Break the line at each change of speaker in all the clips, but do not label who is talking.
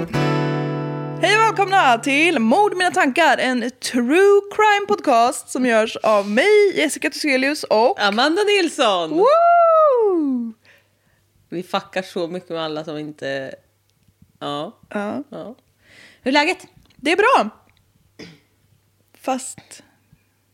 Hej och välkomna till Mord mina tankar, en true crime podcast som görs av mig, Jessica Thyselius och...
Amanda Nilsson!
Woo!
Vi fuckar så mycket med alla som inte... Ja. ja. Hur är läget?
Det är bra! Fast...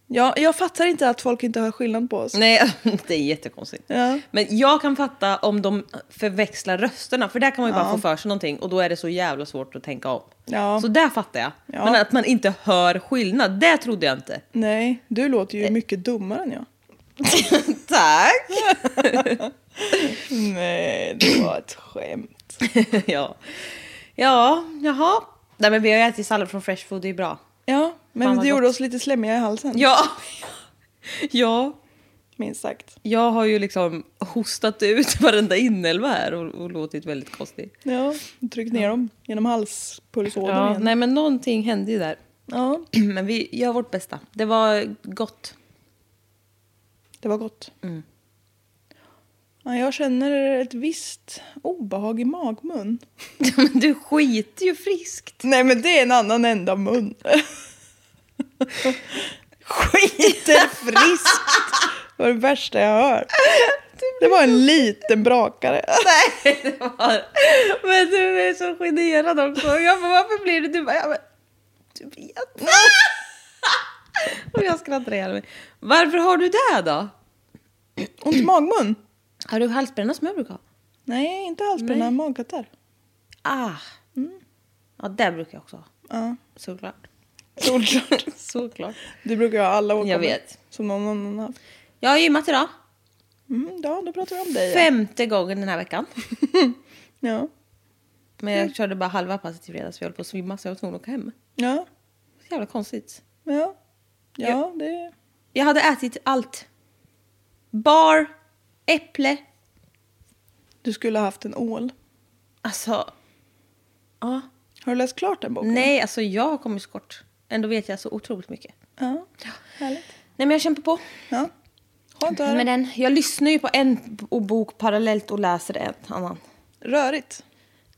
Ja, jag fattar inte att folk inte hör skillnad på oss.
Nej, det är jättekonstigt.
Ja.
Men jag kan fatta om de förväxlar rösterna, för där kan man ju bara få för sig någonting och då är det så jävla svårt att tänka om.
Ja.
Så där fattar jag.
Ja.
Men att man inte hör skillnad, det trodde jag inte.
Nej, du låter ju mycket dummare än jag.
Tack!
Nej, det var ett skämt.
ja. ja, jaha. Nej men vi har ju ätit sallad från Fresh Food, det är bra.
Ja, men
Fan, vad
det gjorde
gott.
oss lite slemmiga i halsen,
Ja. ja,
minst sagt.
Jag har ju liksom hostat ut varenda inälva här och, och låtit väldigt konstig.
Ja, tryck ner dem genom halspulsådern igen.
nej men någonting hände ju där.
Ja,
Men vi gör vårt bästa. Det var gott.
Det var gott. Ja, jag känner ett visst obehag i magmun.
Men du skiter ju friskt.
Nej, men det är en annan enda mun. Skiter friskt! Det var det värsta jag hört. Det var en liten brakare.
Men du är så generad också. Jag bara, varför blir du... Du bara, ja, men, du vet. och jag skrattar ihjäl mig. Varför har du det då?
Ont i magmun?
Har du halsbränna som jag brukar ha?
Nej, inte alls på den här magkatar.
Ah. Ja, det brukar jag också ha.
Mm. Ja,
Såklart.
solklart.
Såklart.
Det brukar jag ha alla åkommor.
Jag vet.
Som någon annan haft.
Jag har gymmat idag.
Mm, ja, då pratar vi om dig. Ja.
Femte gången den här veckan.
Ja.
Men jag körde bara halva passet i fredags för jag höll på att svimma så jag var tvungen att åka hem.
Ja.
Så jävla konstigt.
Ja. Ja, det...
Jag hade ätit allt. Bar, äpple,
Du skulle ha haft en ål.
alltså... Ja.
Har du läst klart den boken?
Nej, alltså jag kommer så kort. Ändå vet jag så otroligt mycket.
Ja, härligt.
Nej men jag kämpar på
Ja. Skönt att höra.
med den. Jag lyssnar ju på en b- bok parallellt och läser en annan.
Rörigt.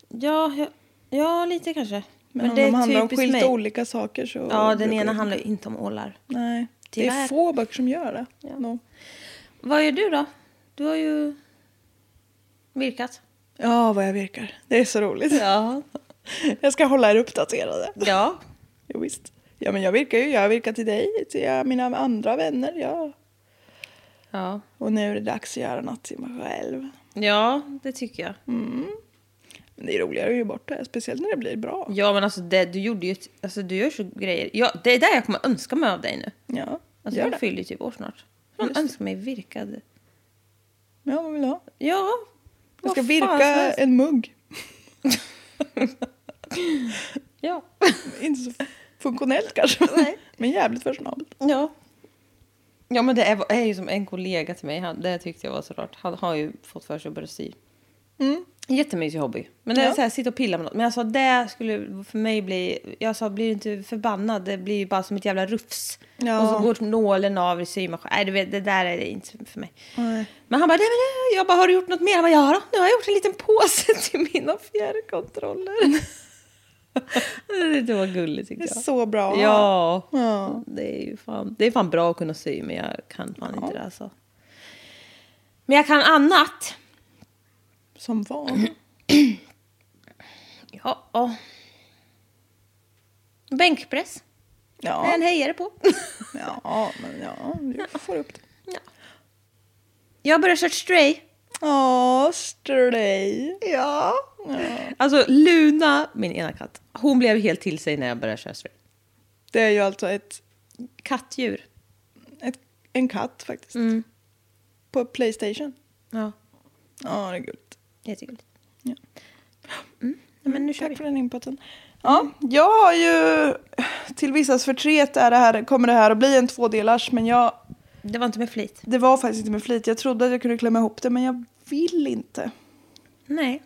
Ja, ja, ja lite kanske.
Men, om de handlar om skilt olika saker så...
Ja, den
brukar
ena
det-
handlar ju inte om ålar.
Nej. Det
Tyvärr.
är få böcker som gör det. No.
Vad gör du då? Du har ju virkat.
Ja, vad jag virkar. Det är så roligt.
Ja.
Jag ska hålla er uppdaterade.
Ja.
Jo, visst. Ja, men jag virkar ju. Jag virkar till dig, till jag- mina andra vänner. Ja.
Ja.
Och nu är det dags att göra något till mig själv.
Ja, det tycker jag.
Men det är roligare att ge bort det, speciellt när det blir bra.
Ja, men alltså det, du gjorde ju... ett- Alltså du gör så grejer. Ja, det är det jag kommer önska mig av dig nu.
Ja,
Alltså
gör
jag
det.
fyller ju typ år snart. Man önskar mig virkad.
Ja, vad vill du ha?
Ja.
Jag
vad
ska
fan som
virka
helst.
en mugg.
Ja.
Inte så funktionellt kanske, men jävligt fashionabelt.
ja. Ja men det är, är ju som en kollega till mig, han, det tyckte jag var så rart. Han har ju fått för sig att börja sy. Jättemysig hobby. Men det är
Mm. Ja.
så här, sitta och pilla med något. Men jag sa det skulle för mig bli, jag sa blir du inte förbannad, det blir ju bara som ett jävla rufs.
Ja.
Och så går nålen av i symaskinen. Nej du vet, det där är inte för mig.
Nej.
Men han bara, nej men nej. jag bara, har du gjort något mer? Han bara, ja då, nu har jag gjort en liten påse till mina fjärrkontroller. det var gulligt tyckte
Det
jag.
är så bra.
Ja.
Ja.
Det är ju fan, det är fan bra att kunna sy, men jag kan fan inte det alltså. Men jag kan annat.
Som van.
Ja. ja. Bänkpress.
Ja.
Ja. En hejare på.
Ja, men ja, du får upp det.
Jag börjar köra stray.
Ja, stray. Ja.
Alltså Luna, min ena katt, hon blev helt till sig när jag började köra stray.
Det är ju alltså ett,
Kattdjur.
ett, en katt faktiskt. På Playstation.
Ja,
Ja, det är gulligt.
jättegulligt. Mm.
Ja.
Nej, men nu kör vi.
Tack för den inputen. Mm. Ja, jag har ju... Till vissas förtret är det här, kommer det här att bli en tvådelars, men jag...
Det var inte med flit.
Det var faktiskt inte med flit. Jag trodde att jag kunde klämma ihop det, men jag vill inte.
Nej,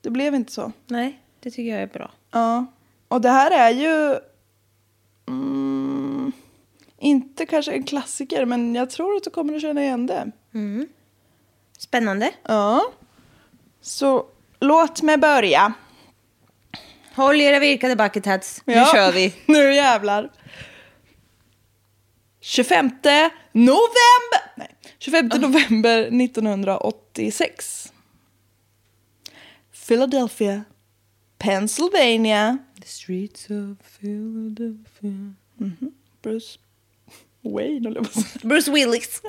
Det blev inte så.
nej, det tycker jag är bra.
Ja. Och det här är ju... Mm, inte kanske en klassiker, men jag tror att du kommer att känna igen det.
Spännande.
Ja. Så låt mig börja.
Håll era virkade bucket hats. Nu
Ja.
kör vi.
nu jävlar. 25 november! Nej, 25 november 1986. Philadelphia, Pennsylvania.
The streets of Philadelphia.
Mhm. Bruce Wayne, höll jag på att säga.
Bruce Willis.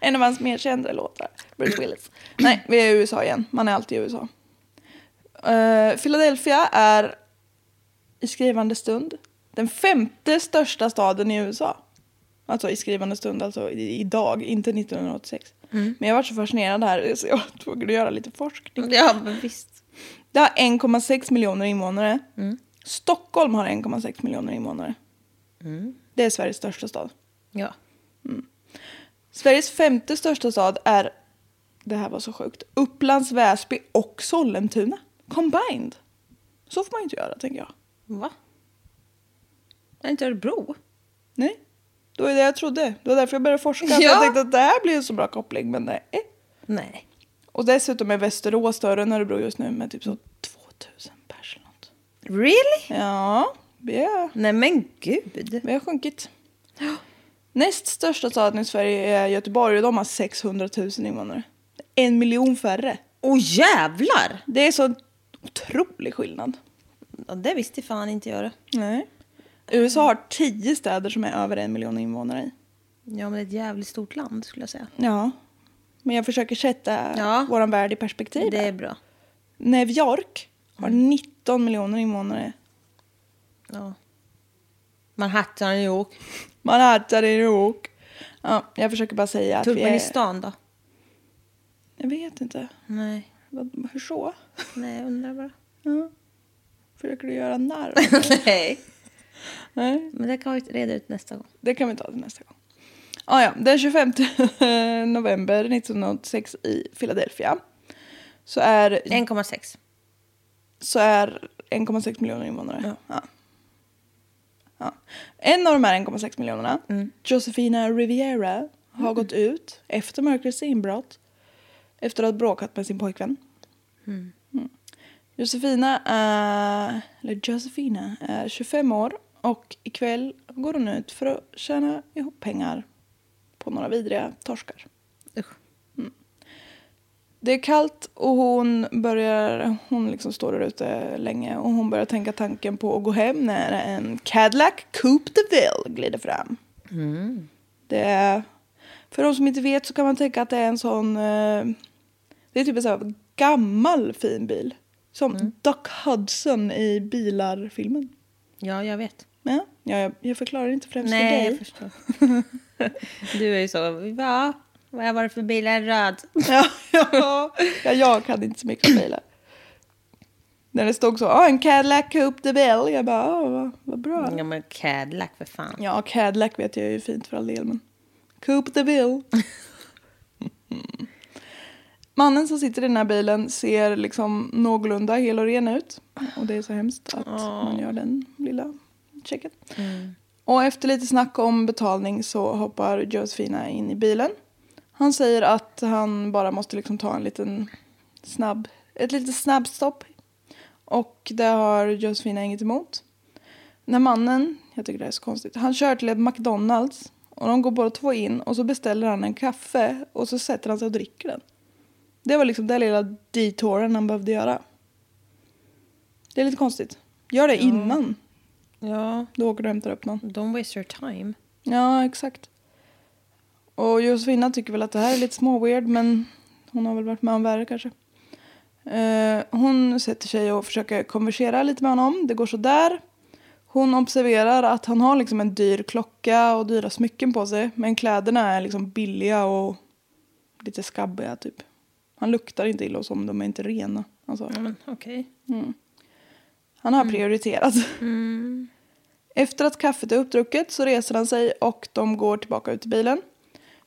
En av hans mer kända låtar. Bruce Willis. Nej, vi är i USA igen. Man är alltid i USA. Eh, Philadelphia är i skrivande stund den femte största staden i USA. Alltså i skrivande stund, alltså i- idag, inte 1986. Men jag var så fascinerad här så jag var tvungen att göra lite forskning.
Ja, men visst.
Det har 1,6 miljoner invånare. Stockholm har 1,6 miljoner invånare. Det är Sveriges största stad.
Ja.
Sveriges femte största stad är, det här var så sjukt, Upplands Väsby och Sollentuna. Combined. Så får man ju inte göra, tänker jag.
Va? Är inte Örebro?
Nej, det var ju det jag trodde. Det var därför jag började forska. för Jag
Ja.
tänkte att det här blir en så bra koppling, men nej.
Nej.
Och dessutom är Västerås större än Örebro just nu med typ så 2000 pers eller något.
Really?
Ja, vi har,
Nej men gud.
vi har sjunkit. Näst största staden i Sverige är Göteborg och de har 600 000 invånare. En miljon färre.
Åh jävlar!
Det är så otrolig skillnad.
Ja, det visste fan inte jag det.
Nej. USA har tio städer som är över en miljon invånare i.
Ja men det är ett jävligt stort land skulle jag säga.
Ja. Men jag försöker sätta
Ja.
våran värld i perspektiv.
Det är Mm. bra.
New York har 19 miljoner invånare.
Ja. Manhattan, New York.
Manhattan i New York. Ja, jag försöker bara säga att
Turkmenistan då?
vi är... Jag vet inte.
Nej.
Vad- Hur så?
Nej jag undrar bara.
Försöker du göra narr?
Nej.
Nej,
Men det kan vi reda ut nästa gång.
det kan vi ta till nästa gång. Ah, ja, den 25 november 1986 i Philadelphia så är
1,6.
så är 1,6 miljoner invånare. Ja. Ja. En av de här 1,6 miljonerna, Josefina Riviera, har gått ut efter mörkrets inbrott efter att ha bråkat med sin pojkvän. Mm. Josefina, är, eller Josefina är 25 år och ikväll går hon ut för att tjäna ihop pengar på några vidriga torskar.
Usch.
Det är kallt och hon börjar, hon liksom står där ute länge och hon börjar tänka tanken på att gå hem när en Cadillac Coupe de Ville glider fram.
Mm.
Det är, för de som inte vet så kan man tänka att det är en sån, eh, det är typ en sån här gammal fin bil. Som
Mm.
Doc Hudson i Bilar-filmen.
Ja jag vet.
Ja, jag, jag förklarar inte främst för
Nej
dig.
jag förstår. du är ju så. Va? Vad var det för bil? En röd?
Ja, ja. ja, jag kan inte så mycket om bilar. När det stod så, ah, en Cadillac Coupe de Belle. Jag bara, ah, vad, vad bra.
Ja men Cadillac för fan.
Ja, Cadillac vet jag är ju fint för all del, men Coupe de Ville. Mm. Mannen som sitter i den här bilen ser liksom någorlunda hel och ren ut. Och det är så hemskt att man gör den lilla checken. Och efter lite snack om betalning så hoppar Josefina in i bilen. Han säger att han bara måste liksom ta en liten snabb, ett litet snabbstopp. Och det har Josefina inget emot. När mannen, jag tycker det här är så konstigt, han kör till ett McDonalds och de går båda två in och så beställer han en kaffe och så sätter han sig och dricker den. Det var liksom den lilla detouren han behövde göra. Det är lite konstigt. Gör det innan
Ja,
du åker och hämtar upp någon.
don't waste your time.
Ja, exakt. Och Josefina tycker väl att det här är lite små-weird, men hon har väl varit med om värre kanske. Eh, hon sätter sig och försöker konversera lite med honom. Det går så där. Hon observerar att han har liksom en dyr klocka och dyra smycken på sig, men kläderna är liksom billiga och lite skabbiga typ. Han luktar inte illa och så, men de är inte rena. Alltså.
Ja, men okej.
Han
Mm.
har prioriterat. Efter att kaffet är uppdrucket så reser han sig och de går tillbaka ut till bilen.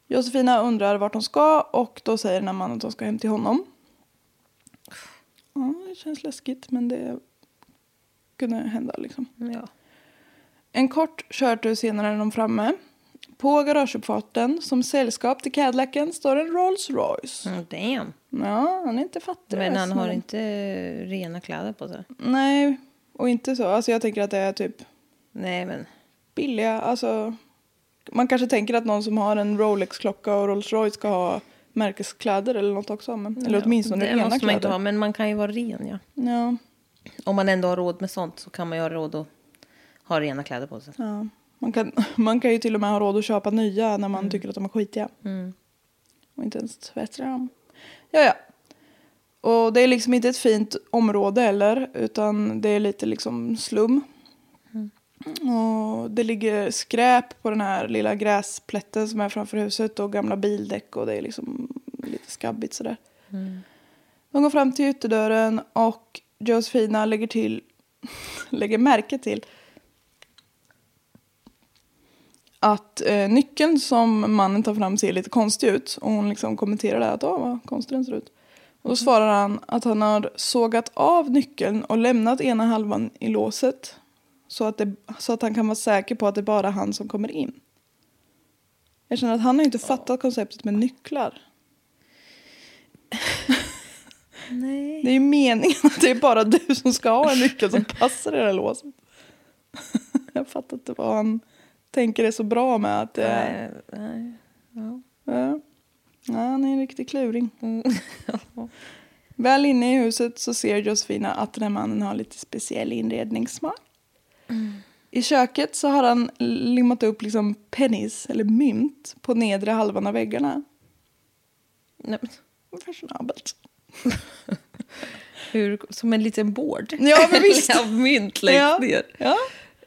Josefina undrar vart de ska och då säger den här mannen att de ska hem till honom. Ja, det känns läskigt men det kunde hända liksom.
Ja.
En kort körtur senare är de framme. På garageuppfarten som sällskap till Cadillacen står en Rolls Royce.
Mm, damn.
Ja, han är inte fattig.
Men han har
snubben.
inte rena kläder på sig.
Nej, och inte så. Alltså jag tänker att det är typ
Nej, men...
billiga. Alltså, man kanske tänker att någon som har en Rolex-klocka och Rolls Royce ska ha märkeskläder eller något också. Men, eller åtminstone
det
rena
måste man
kläder.
inte ha, men man kan ju vara ren. ja.
Ja,
Om man ändå har råd med sånt så kan man ju ha råd att ha rena kläder på sig.
ja. Man, kan, man kan ju till och med ha råd att köpa nya när man tycker att de är skitiga. Och inte ens tvätta dem. Ja, ja. Och det är liksom inte ett fint område heller, utan det är lite liksom slum. Och det ligger skräp på den här lilla gräsplätten som är framför huset och gamla bildäck och det är liksom lite skabbigt sådär. De går fram till ytterdörren och Josefina lägger till, lägger märke till att eh, nyckeln som mannen tar fram ser lite konstig ut och hon liksom kommenterar det här att åh vad konstig den ser ut. Och då svarar han att han har sågat av nyckeln och lämnat ena halvan i låset så att, det, så att han kan vara säker på att det är bara han som kommer in. Jag känner att han har inte fattat konceptet med nycklar.
Nej.
Det är ju meningen att det är bara du som ska ha en nyckel som passar i det här låset. Jag fattar inte vad han tänker är så bra med att det är...
Nej. nej.
Ja. Ja, han är en riktig kluring. Väl inne i huset så ser Josefina att den här mannen har lite speciell inredningssmak. I köket så har han limmat upp liksom pennies, eller mynt, på nedre halvan av väggarna.
Nej, men,
Fashionabelt.
hur, som en liten board.
Ja, men visst.
Av mynt längst
Ja,
ner.
Ja.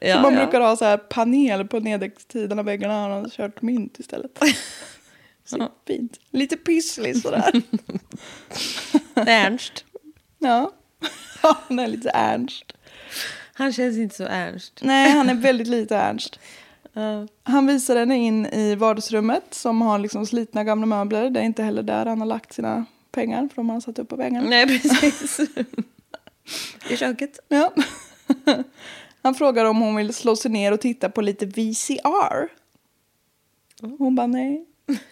Ja,
så man
ja.
brukar ha så här panel på nedersidan av väggarna har han kört mynt istället. Så fint. Lite pysslig sådär.
Ernst.
Ja. Ja, han är lite Ernst.
Han känns inte så Ernst.
Nej, han är väldigt lite Ernst. Han visar henne in i vardagsrummet som har liksom slitna gamla möbler. Det är inte heller där han har lagt sina pengar för de har satt upp på väggarna.
Mm. Nej, precis. I köket.
Ja. Han frågar om hon vill slå sig ner och titta på lite VCR. Hon bara nej,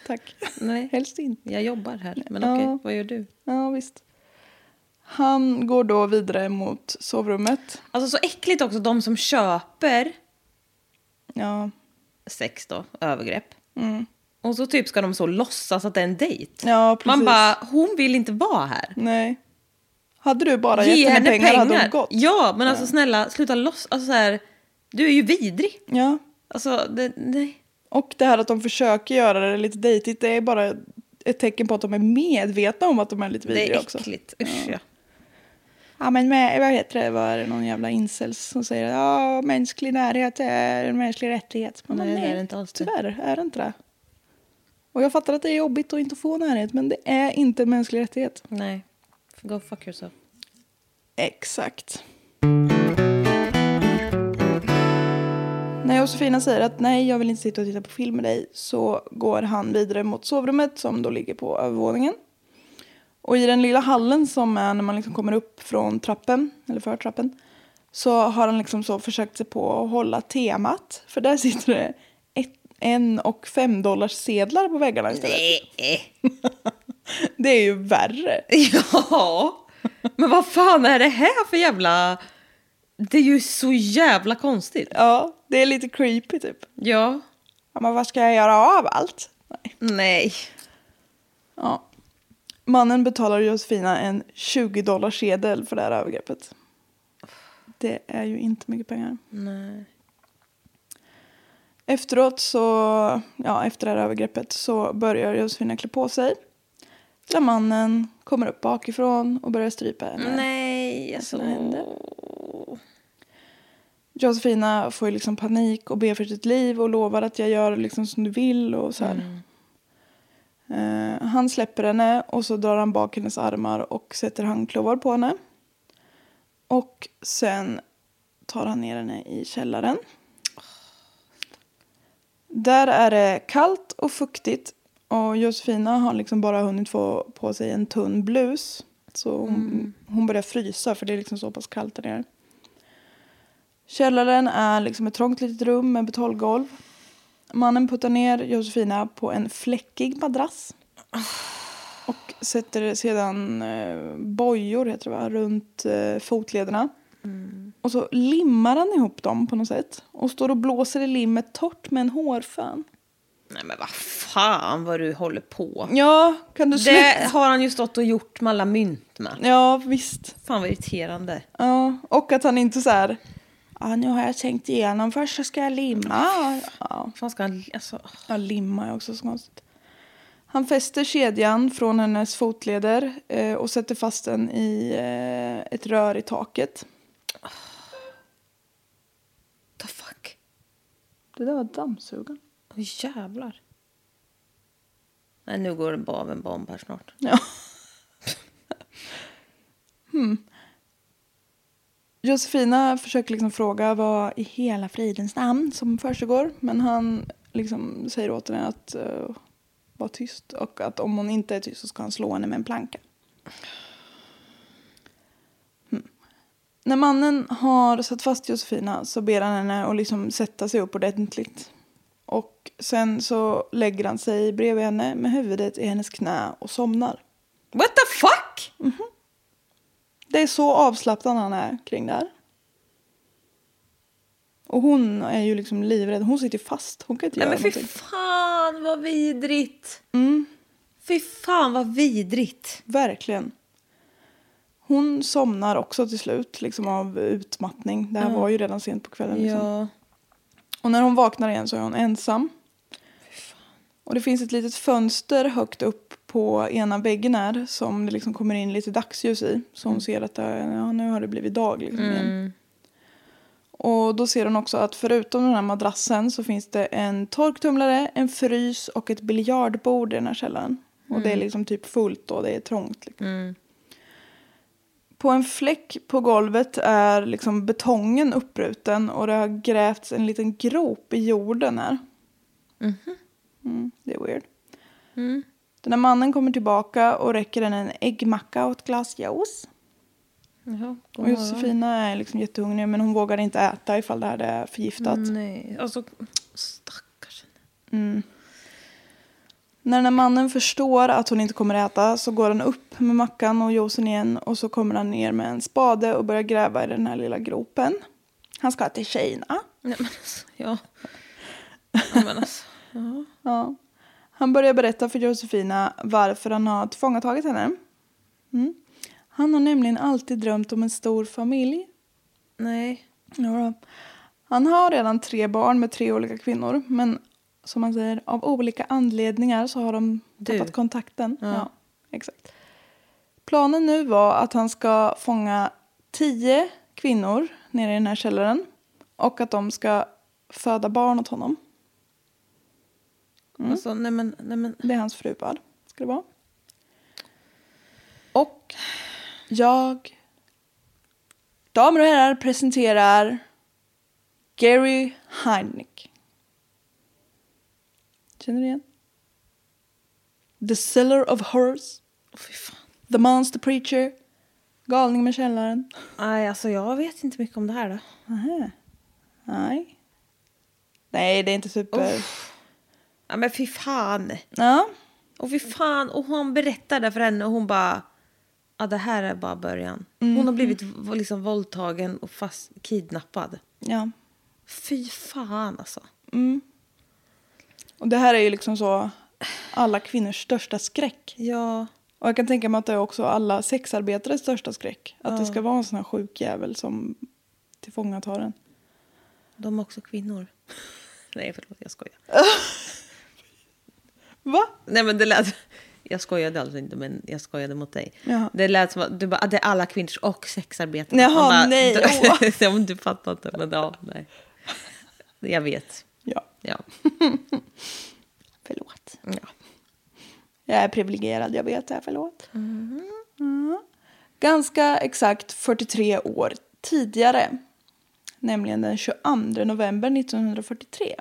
tack.
Nej.
Helst inte.
Jag jobbar här, men
Ja.
okej, vad gör du?
Ja, visst. Han går då vidare mot sovrummet.
Alltså så äckligt också, de som köper
Ja,
sex då, övergrepp. Och så typ ska de så låtsas att det är en dejt.
Mm. ja precis.
Man bara, hon vill inte vara här.
Nej. Hade du bara gett
Ge
henne
henne
pengar, hade hon
pengar.
gått.
Ja, men alltså snälla, sluta låtsas. Alltså så här, du är ju vidrig.
ja.
Alltså, det, nej.
Och det här att de försöker göra det lite dejtigt, det är bara ett tecken på att de är medvetna om att de är lite
Det
vidriga
är
också.
äckligt. Usch ja.
Ja men med, vad heter det, var det någon jävla incels som säger att ja, mänsklig närhet är en mänsklig rättighet. Men
Nej, det är det inte alls det.
Tyvärr är det inte det. Och jag fattar att det är jobbigt att inte få närhet, men det är inte en mänsklig rättighet.
Nej. Go fuck yourself.
Exakt. När jag och Sofina säger att nej, jag vill inte sitta och titta på film med dig så går han vidare mot sovrummet som då ligger på övervåningen. Och i den lilla hallen som är när man liksom kommer upp från trappen, eller för trappen, så har han liksom så försökt sig på att hålla temat. För där sitter det ett, en och fem dollars sedlar på väggarna istället. Det är ju värre.
Ja, men vad fan är det här för jävla... Det är ju så jävla konstigt.
Ja, det är lite creepy typ.
Ja.
Ja, men vad ska jag göra av allt? Nej.
Nej.
Ja. Mannen betalar Josefina en 20 dollar sedel för det här övergreppet. Det är ju inte mycket pengar.
Nej.
Efteråt så, ja efter det här övergreppet så börjar Josefina klä på sig. Där mannen kommer upp bakifrån och börjar strypa henne.
Nej, alltså.
Vad hände? Josefina får ju liksom panik och ber för sitt liv och lovar att jag gör liksom som du vill och så här. Eh, han släpper henne och så drar han bak hennes armar och sätter handklovar på henne. Och sen tar han ner henne i källaren. Där är det kallt och fuktigt och Josefina har liksom bara hunnit få på sig en tunn blus. Så hon, hon börjar frysa för det är liksom så pass kallt där nere. Källaren är liksom ett trångt litet rum med betalgolv. Mannen puttar ner Josefina på en fläckig madrass. Och sätter sedan eh, bojor heter det va, runt eh, fotlederna. Och så limmar han ihop dem på något sätt. Och står och blåser i limmet torrt med en hårfön.
Nej, men vad fan vad du håller på.
Ja, kan du
Det
sluta?
har han ju stått och gjort med alla mynt med.
Ja, visst.
Fan vad irriterande.
Ja, och att han inte så här... Ja, nu har jag tänkt igenom. Först så ska jag limma. Ja.
Fan ska han... Alltså.
Ja, limma är också så konstigt. Han fäster kedjan från hennes fotleder eh, och sätter fast den i eh, ett rör i taket.
The fuck.
Det där var dammsugaren.
Åh jävlar. Nej, nu går det bara av en bomb här snart.
Ja. Josefina försöker liksom fråga vad i hela fridens namn som försiggår. Men han liksom säger åt henne att eh, vara tyst och att om hon inte är tyst så ska han slå henne med en planka. Mm. När mannen har satt fast Josefina så ber han henne att liksom sätta sig upp ordentligt. Och sen så lägger han sig bredvid henne med huvudet i hennes knä och somnar.
What the fuck?
Det är så avslappnad han är kring det här. Och hon är ju liksom livrädd. Hon sitter ju fast. Hon kan inte
Nej
göra
men fy
någonting.
fan vad vidrigt. Mm. Fy fan vad vidrigt.
Verkligen. Hon somnar också till slut liksom av utmattning. Det här var ju redan sent på kvällen. Liksom.
Ja.
Och när hon vaknar igen så är hon ensam. Och det finns ett litet fönster högt upp på ena väggen här som det liksom kommer in lite dagsljus i. Så hon ser att det, ja, nu har det blivit dag liksom igen. Och då ser hon också att förutom den här madrassen så finns det en torktumlare, en frys och ett biljardbord i den här källaren. Och det är liksom typ fullt och det är trångt. Liksom. På en fläck på golvet är liksom betongen uppbruten och det har grävts en liten grop i jorden här. Mm, det är weird. Den här mannen kommer tillbaka och räcker henne en äggmacka och ett glas juice.
Jaha,
Och Josefina är liksom jättehungrig men hon vågar inte äta ifall det här är förgiftat.
Nej, alltså stackars henne.
När den här mannen förstår att hon inte kommer äta så går han upp med mackan och juicen igen och så kommer han ner med en spade och börjar gräva i den här lilla gropen. Han ska till Kina.
Nej men alltså, ja. ja men alltså.
Ja. Han börjar berätta för Josefina varför han har tillfångatagit henne. Mm. Han har nämligen alltid drömt om en stor familj.
Nej.
Ja då. Han har redan tre barn med tre olika kvinnor men som han säger, av olika anledningar så har de
Du.
tappat kontakten. Ja. exakt. Planen nu var att han ska fånga tio kvinnor nere i den här källaren och att de ska föda barn åt honom. Mm.
Alltså nej men, nej men.
Det är hans fruar, ska det vara. Och jag Damer och herrar presenterar Gary Heinick. Känner du igen? The Seller of Horrors. The Monster Preacher. Galning med källaren.
Nej, alltså jag vet inte mycket om det här då.
Aha. Nej. Nej, det är inte super...
Ja, men fy fan.
Ja.
Och fy fan, och hon berättade för henne och hon bara... Ja, det här är bara början. Hon har
Mm.
blivit v- liksom våldtagen och fast kidnappad.
ja.
Fy fan alltså.
Och det här är ju liksom så alla kvinnors största skräck.
Ja,
Och jag kan tänka mig att det är också alla sexarbetares största skräck. Att det ska vara en sån här sjuk jävel som tillfångatar en.
de är också kvinnor. Nej, förlåt, jag skojar.
Va?
Nej, men det lät... Jag skojade alltså inte, men jag skojade mot dig.
Jaha.
Det lät som att du bara, "Ah, det är alla kvinnors och sexarbetare.
Jaha,
Man bara,
nej, åh.
Du, Ja, men du fattar inte, men ja, nej. Jag vet.
Ja,
Ja.
förlåt.
ja.
Jag är privilegierad, jag vet det. Förlåt. Ja. Ganska exakt 43 år tidigare, nämligen den 22 november 1943,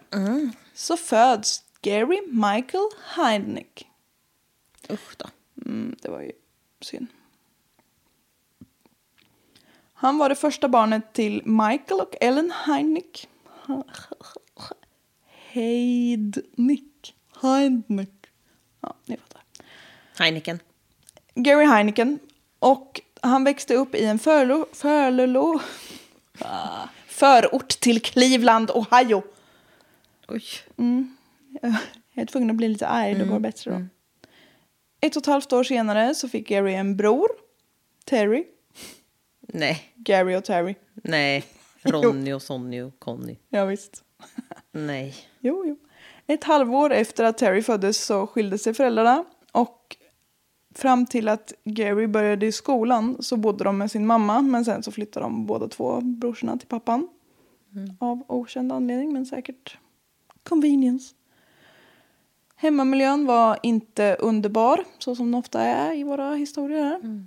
så föds Gary Michael Heidnick.
Usch då.
Mm, det var ju synd. Han var det första barnet till Michael och Ellen Heidnick. Heidnick. Heidnick. Ja, ni fattar.
Heineken.
Gary Heineken. Och han växte upp i en förlo, förlo, förort till Cleveland, Ohio.
Oj.
Jag är tvungen att bli lite arg, det går bättre då. Ett och ett halvt år senare så fick Gary en bror, Terry.
Nej,
Gary och Terry.
nej. Ronny och Sonny och Conny.
Ja, visst.
Nej.
Jo, jo. Ett halvår efter att Terry föddes så skilde sig föräldrarna och fram till att Gary började i skolan så bodde de med sin mamma men sen så flyttade de båda två brorsorna till pappan. Av okänd anledning men säkert convenience. Hemmamiljön var inte underbar så som det ofta är i våra historier här.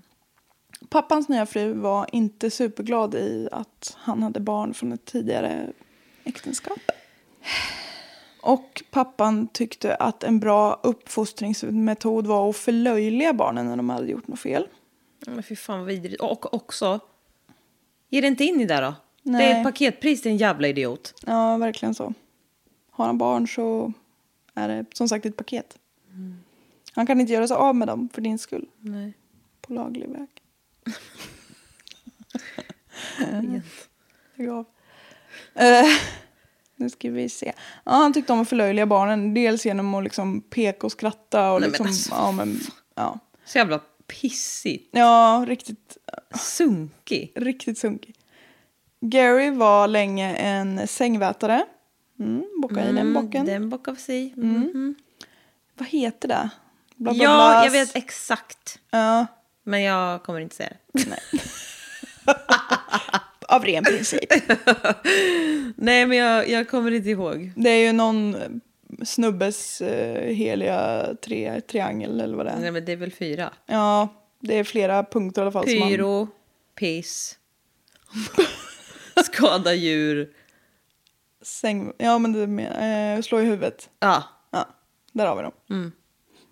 Pappans nya fru var inte superglad i att han hade barn från ett tidigare äktenskap. Och pappan tyckte att en bra uppfostringsmetod var att förlöjliga barnen när de hade gjort något fel.
Men fy fan vad vidrigt. Och också, ge dig inte in i det då. Det är
Nej.
ett paketpris till en jävla idiot.
Ja, verkligen så. Har han barn så är det som sagt ett paket. Han kan inte göra sig av med dem för din skull.
Nej.
På laglig väg. Lägg av. Eh, nu ska vi se. Ja, han tyckte om att förlöjliga barnen. Dels genom att liksom peka och skratta. Och
Nej, men
liksom,
alltså,
ja, men, ja.
Så jävla pissig,
ja, riktigt
sunkig.
Riktigt sunkig. Gary var länge en sängvätare. Mm, bocka i den bocken.
Den bock av sig. Mm.
Vad heter det? Bla, bla,
Ja,
blas.
jag vet exakt.
Ja,
Men jag kommer inte säga det.
av ren princip.
Nej, men jag, jag kommer inte ihåg.
Det är ju någon eh, snubbes eh, heliga tre, triangel eller vad det
Nej,
är.
men det är väl fyra.
Ja, det är flera punkter i alla fall. som man-
Pyro, piss, skada djur.
Säng... Ja, men det med, eh, slå i huvudet.
Ja,
Ja, där har vi dem.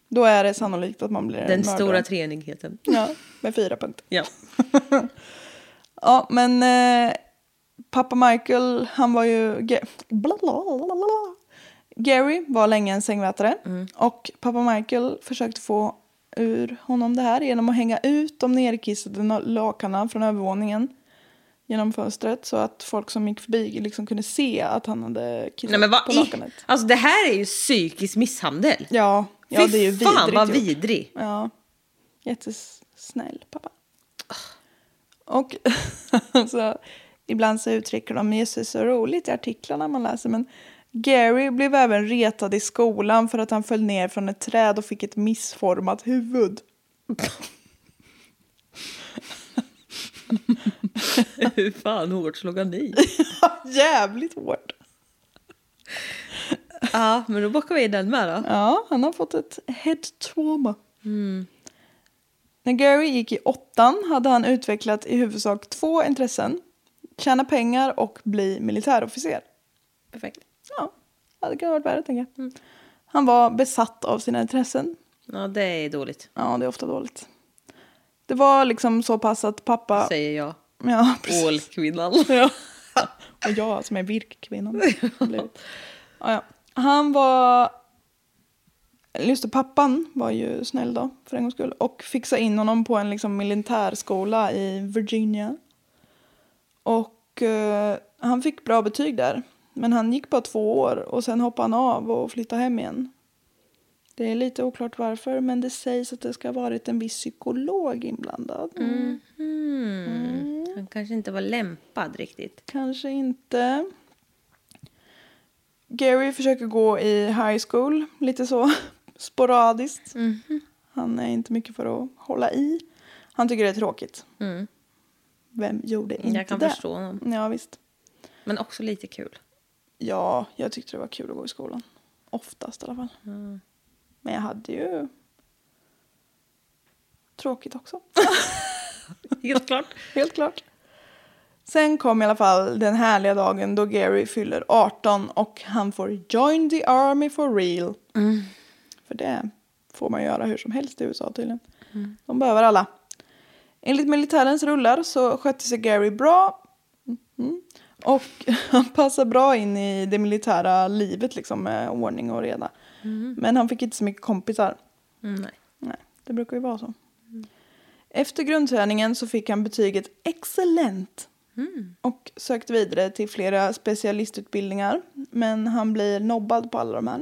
Då är det sannolikt att man blir en
Mm. den
mördare.
stora treenigheten.
Ja, med fyra punkter.
Ja.
Ja, men eh, pappa Michael, han var ju... Ge- bla, bla, bla, bla, bla. Gary var länge en sängvätare
Mm.
och pappa Michael försökte få ur honom det här genom att hänga ut de nerkissade na- lakanen från övervåningen genom fönstret så att folk som gick förbi liksom kunde se att han hade kissat
Nej, men vad
på
i...
lakanet.
Alltså det här är ju psykisk misshandel.
Ja, ja,
Fy
det är ju
fan vad
vidrigt gjort.
vidrig.
Ja. Jättesnäll pappa. Och så, ibland så uttrycker de Jesus så roligt i artiklarna man läser. Men Gary blev även retad i skolan för att han föll ner från ett träd och fick ett missformat huvud.
Hur fan hårt slog han i?
Jävligt hårt.
ja, men då bockar vi i den med då.
Ja, han har fått ett head trauma. Mm. När Gary gick i åttan hade han utvecklat i huvudsak två intressen. Tjäna pengar och bli militärofficer.
Perfekt.
Ja, hade kunnat varit värre tänker jag. Han var besatt av sina intressen.
Ja, det är dåligt.
Ja, det är ofta dåligt. Det var liksom så pass att pappa...
Säger jag.
Ja, precis.
Ålkvinnan.
Och jag som är virkkvinnan. har blivit. ja, ja. Han var... eller Just det, pappan var ju snäll då, för en gångs skull. Och fixade in honom på en liksom, militärskola i Virginia. Och eh, han fick bra betyg där. Men han gick bara två år och sen hoppade han av och flyttade hem igen. Det är lite oklart varför, men det sägs att det ska ha varit en viss psykolog inblandad.
Mm. Han kanske inte var lämpad riktigt.
Kanske inte. Gary försöker gå i high school, lite så sporadiskt.
Mhm.
Han är inte mycket för att hålla i. Han tycker det är tråkigt. Vem gjorde Mm, inte
Mm. Jag kan
det?
förstå honom.
Ja, visst.
Men också lite kul.
Ja, jag tyckte det var kul att gå i skolan. Oftast i alla fall.
Mm.
Men jag hade ju tråkigt också.
Helt klart.
Helt klart. Sen kom i alla fall den härliga dagen då Gary fyller 18 och han får join the army for real. För det får man göra hur som helst i USA tydligen. De behöver alla. Enligt militärens rullar så skötte sig Gary bra. Mhm. Och han passar bra in i det militära livet liksom med ordning och reda. Men han fick inte så mycket kompisar.
Mm, nej.
Nej, det brukar ju vara så. Efter grundträningen så fick han betyget excellent. Och sökte vidare till flera specialistutbildningar. Men han blir nobbad på alla de här.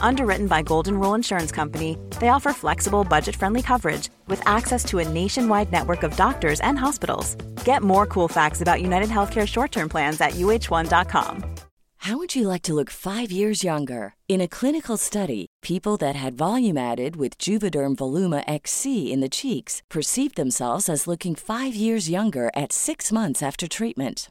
Underwritten by Golden Rule Insurance Company, they offer flexible, budget friendly coverage with access to a nationwide network of doctors and hospitals. Get more cool facts about United Healthcare short term plans at uh1.com.
How would you like to look five years younger? In a clinical study, people that had volume added with Juvederm Voluma XC in the cheeks perceived themselves as looking five years younger at six months after treatment.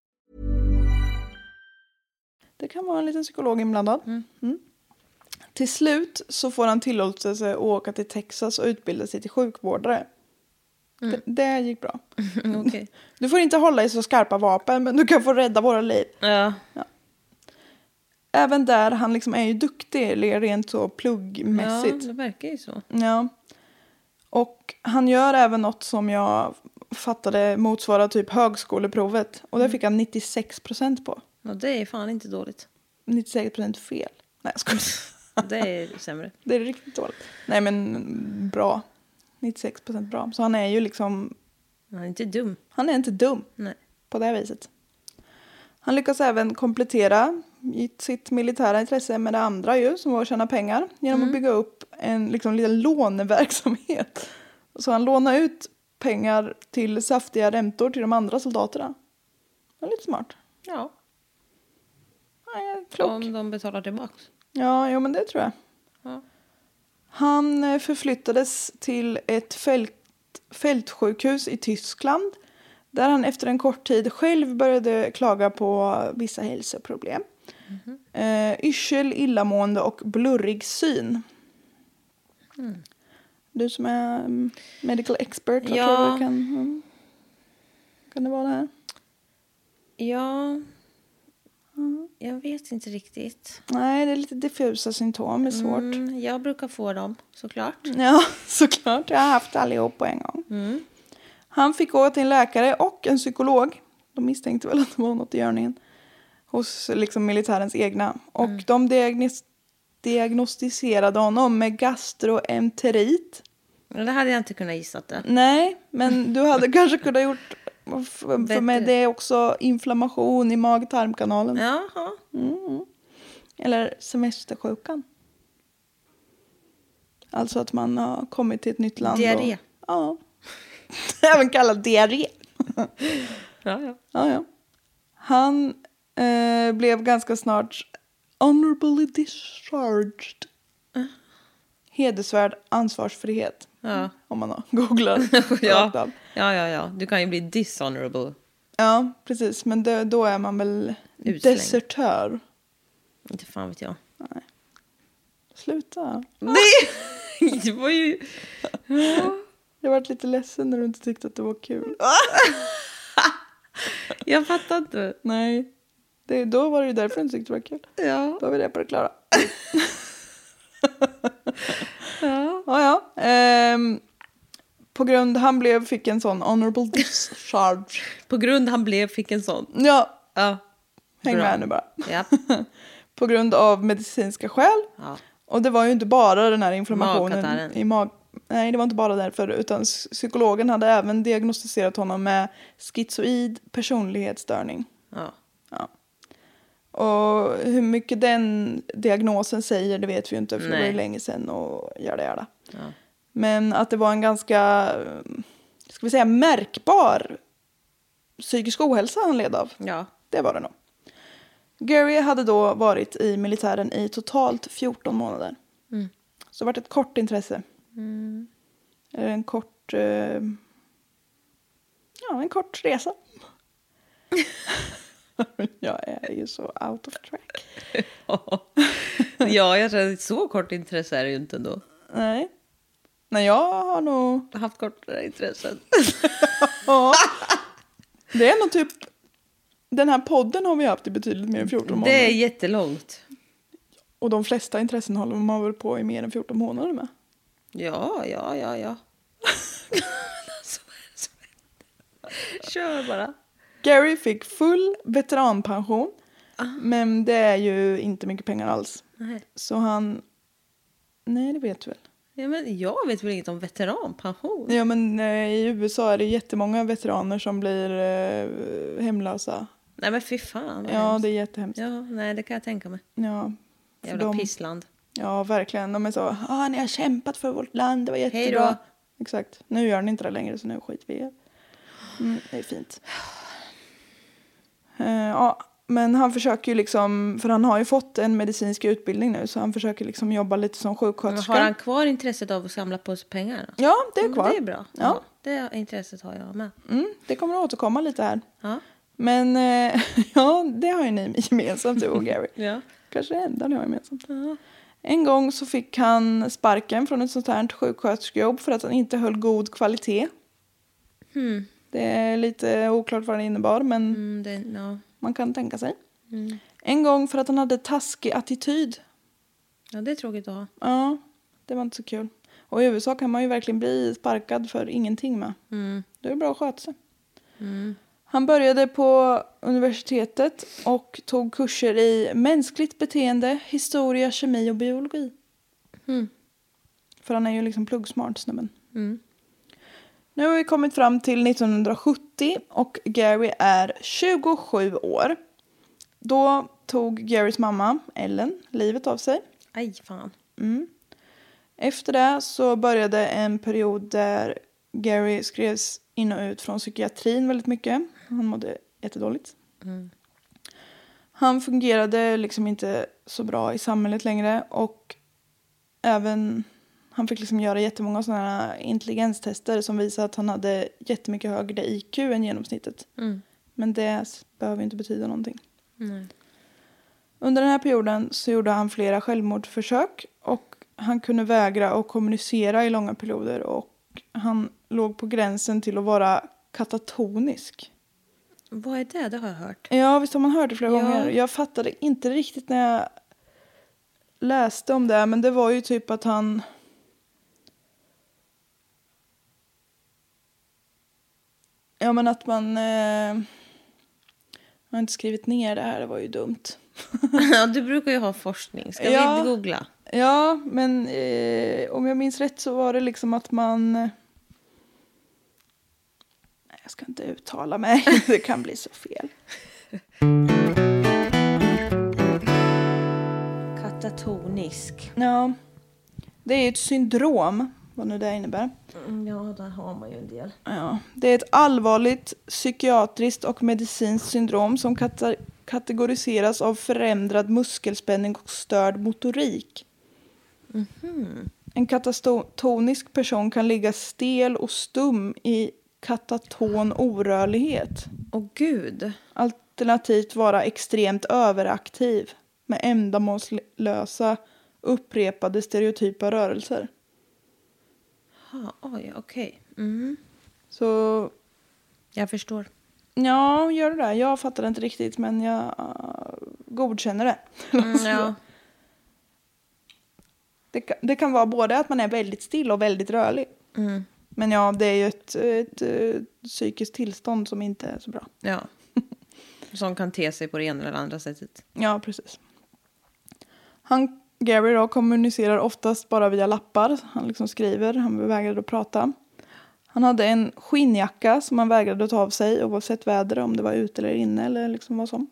Det kan vara en liten psykolog inblandad. Mm. Till slut så får han tillåtelse att åka till Texas och utbilda sig till sjukvårdare. Det, det gick bra.
Okej.
Du får inte hålla i så skarpa vapen men du kan få rädda våra liv.
Ja.
Även där, han liksom är ju duktig rent så
ja,
pluggmässigt.
det verkar ju så.
Ja. Och han gör även något som jag fattade motsvarar typ högskoleprovet. Och där fick han 96 procent på.
Ja, det är fan inte dåligt.
96 procent fel. Nej, jag skojar.
Det är sämre.
Det är riktigt dåligt. Nej, men bra. 96 procent bra. Så han är ju liksom...
Han är inte dum.
Han är inte dum
Nej.
på det här viset. Han lyckas även komplettera sitt militära intresse med det andra ju, som var att tjäna pengar genom att bygga upp en liksom, liten låneverksamhet. Så han lånade ut pengar till saftiga räntor till de andra soldaterna. Det var lite smart.
Ja,
Han är klok.
om de betalar tillbaks.
Ja, jo, men det tror jag.
Ja.
Han eh, förflyttades till ett fält, fältsjukhus i Tyskland där han efter en kort tid själv började klaga på vissa hälsoproblem.
Mhm.
Eh, yrsel, illamående och blurrig syn.
Mm.
Du som är mm, medical expert, vad
Ja.
tror du kan... Mm, kan det vara det här?
Ja, Mm. jag vet inte riktigt.
Nej, det är lite diffusa symptom. Det är svårt. Mm.
Mm, jag brukar få dem såklart.
Ja, såklart. Jag har haft allihop på en gång.
Mm.
Han fick gå till en läkare och en psykolog. De misstänkte väl att det var något i görningen. Hos liksom militärens egna. Och
Mm.
de diagnos- diagnostiserade honom med gastroenterit.
Men Det hade jag inte kunnat gissa det.
Nej, men du hade kanske kunnat gjort... För, för
Bättre.
mig det är också inflammation i mag-tarmkanalen.
Jaha.
Eller semestersjukan. Alltså att man har kommit till ett nytt land.
Diarré.
Och, ja. Även kallad diarré.
Ja, ja.
Ja, ja. Han eh, blev ganska snart honorably discharged. Hedersvärd ansvarsfrihet. Om man googlar. rakt
Ja.
av.
ja, ja, ja. Du kan ju bli dishonorable.
ja, precis. Men då, då är man väl
Utslängd.
desertör.
Inte fan vet
Ah!
jag.
Sluta.
Nej! Det var ju...
Jag varit lite ledsen när du inte tyckte att det var kul.
Jag fattar inte.
Nej. Det, då var det ju därför du inte tyckte det var kul.
Ja.
Då var vi det på det klara. ja. ja, ja. Ehm, på grund han blev fick en sån honorable discharge.
På grund han blev fick en sån.
Ja,
Ja.
Mm. häng
Bra.
med nu bara.
Ja.
På grund av medicinska skäl.
Ja.
Och det var ju inte bara den här inflammationen
Magkatarren.
i mag... Nej, det var inte bara därför. Utan s- psykologen hade även diagnostiserat honom med schizoid personlighetsstörning.
ja.
Och hur mycket den diagnosen säger det vet vi ju inte för det var ju
Nej.
länge sedan och gör det, gör det. Men att det var en ganska, eh, ska vi säga märkbar psykisk ohälsa han led av.
Ja.
Det var det nog. Gary hade då varit i militären i totalt 14 månader. Så det vart ett kort intresse. Eller En kort, eh, ja en kort resa. Jag är ju så out of track.
ja, jag tror att så kort intresse är det ju inte ändå.
Nej. Nej, jag har nog...
Jag har haft kortare intressen.
Ja. Det är nog typ... Den här podden har vi haft i betydligt mer än 14 månader.
Det är jättelångt.
Och de flesta intressen håller man väl på i mer än 14 månader med.
Ja, ja, ja, ja. alltså, vad är det som händer? Kör bara.
Gary fick full veteranpension.
Ah.
Men det är ju inte mycket pengar alls.
Nej.
Så han... Nej, det vet du väl.
Ja, men jag vet väl inget om veteranpension?
Ja, men eh, i USA är det jättemånga veteraner som blir eh, hemlösa.
Nej, men fy fan. vad
Ja,
hemskt.
det är jättehemskt. Ja.
ja, nej, det kan jag tänka mig.
för
Jävla
de-
pissland.
Ja, verkligen. De är så, ah, ni har kämpat för vårt land, det var jättebra.
då.
Exakt. Nu gör ni inte det längre, så nu skiter vi i er. Mm, det är fint. Eh, ja, men han försöker ju liksom, för han har ju fått en medicinsk utbildning nu, så han försöker liksom jobba lite som
Men
sjuksköterska.
har han kvar intresset av att samla på sig pengar? då?
Ja, det
Ja,
är
men
kvar.
Det är bra.
Ja,
Ja. Det intresset har jag med.
mm, det kommer att återkomma lite här.
Ja.
Men eh, ja, det har ju ni gemensamt, du och Gary.
Ja.
Kanske det enda ni har gemensamt. En gång så fick han sparken från ett sånt här sjuksköterskejobb för att han inte höll god kvalitet. Det är lite oklart vad det innebar, men
Mm, det, ja. Mm.
man kan tänka sig. En gång för att han hade taskig attityd.
ja, det är tråkigt att ha.
Ja, det var inte så kul. Och i USA kan man ju verkligen bli sparkad för ingenting med.
Mm.
Det är bra att sköta sig. Han började på universitetet och tog kurser i mänskligt beteende, historia, kemi och biologi. För han är ju liksom pluggsmart snubben. Nu har vi kommit fram till 1970 och Gary är 27 år. Då tog Garys mamma, Ellen, livet av sig.
Aj, fan.
Efter det så började en period där Gary skrevs in och ut från psykiatrin väldigt mycket. Han mådde jättedåligt. Han fungerade liksom inte så bra i samhället längre och även han fick liksom göra jättemånga sådana här intelligenstester som visade att han hade jättemycket högre IQ än genomsnittet. Men det s- behöver ju inte betyda någonting. Under den här perioden så gjorde han flera självmordsförsök och han kunde vägra att kommunicera i långa perioder och han låg på gränsen till att vara katatonisk.
Vad är det? Det har jag hört.
Ja, visst har man hört det flera
Ja.
gånger. Jag fattade inte riktigt när jag läste om det, men det var ju typ att han... Ja, men att man... Eh... Jag har inte skrivit ner det här, det var ju dumt.
Ja, du brukar ju ha forskning. Ska
Ja.
vi googla?
Ja, men eh, om jag minns rätt så var det liksom att man... Nej, jag ska inte uttala mig. Det kan bli så fel.
Katatonisk.
Ja, det är ju ett syndrom, vad nu det innebär.
Mm, Ja, där har man ju en del.
Ja. Det är ett allvarligt psykiatriskt och medicinskt syndrom som kata- kategoriseras av förändrad muskelspänning och störd motorik. En katatonisk person kan ligga stel och stum i kataton orörlighet.
Åh gud.
Alternativt vara extremt överaktiv med ändamålslösa upprepade stereotypa rörelser.
Ha, oj, okej. Mm.
Så
Jag förstår.
Ja, gör du det? Jag fattar inte riktigt, men jag eh, godkänner det.
Mm, ja.
det, kan, det kan vara både att man är väldigt still och väldigt rörlig. Men ja, det är ju ett, ett, eh, psykiskt tillstånd som inte är så bra.
ja. Som kan te sig på det ena eller andra sättet.
Ja, precis. Han, Gary då, kommunicerar oftast bara via lappar. Han liksom skriver, han vägrade att prata. Han hade en skinnjacka som han vägrade att ta av sig oavsett väder, om det var ute eller inne eller liksom vad som.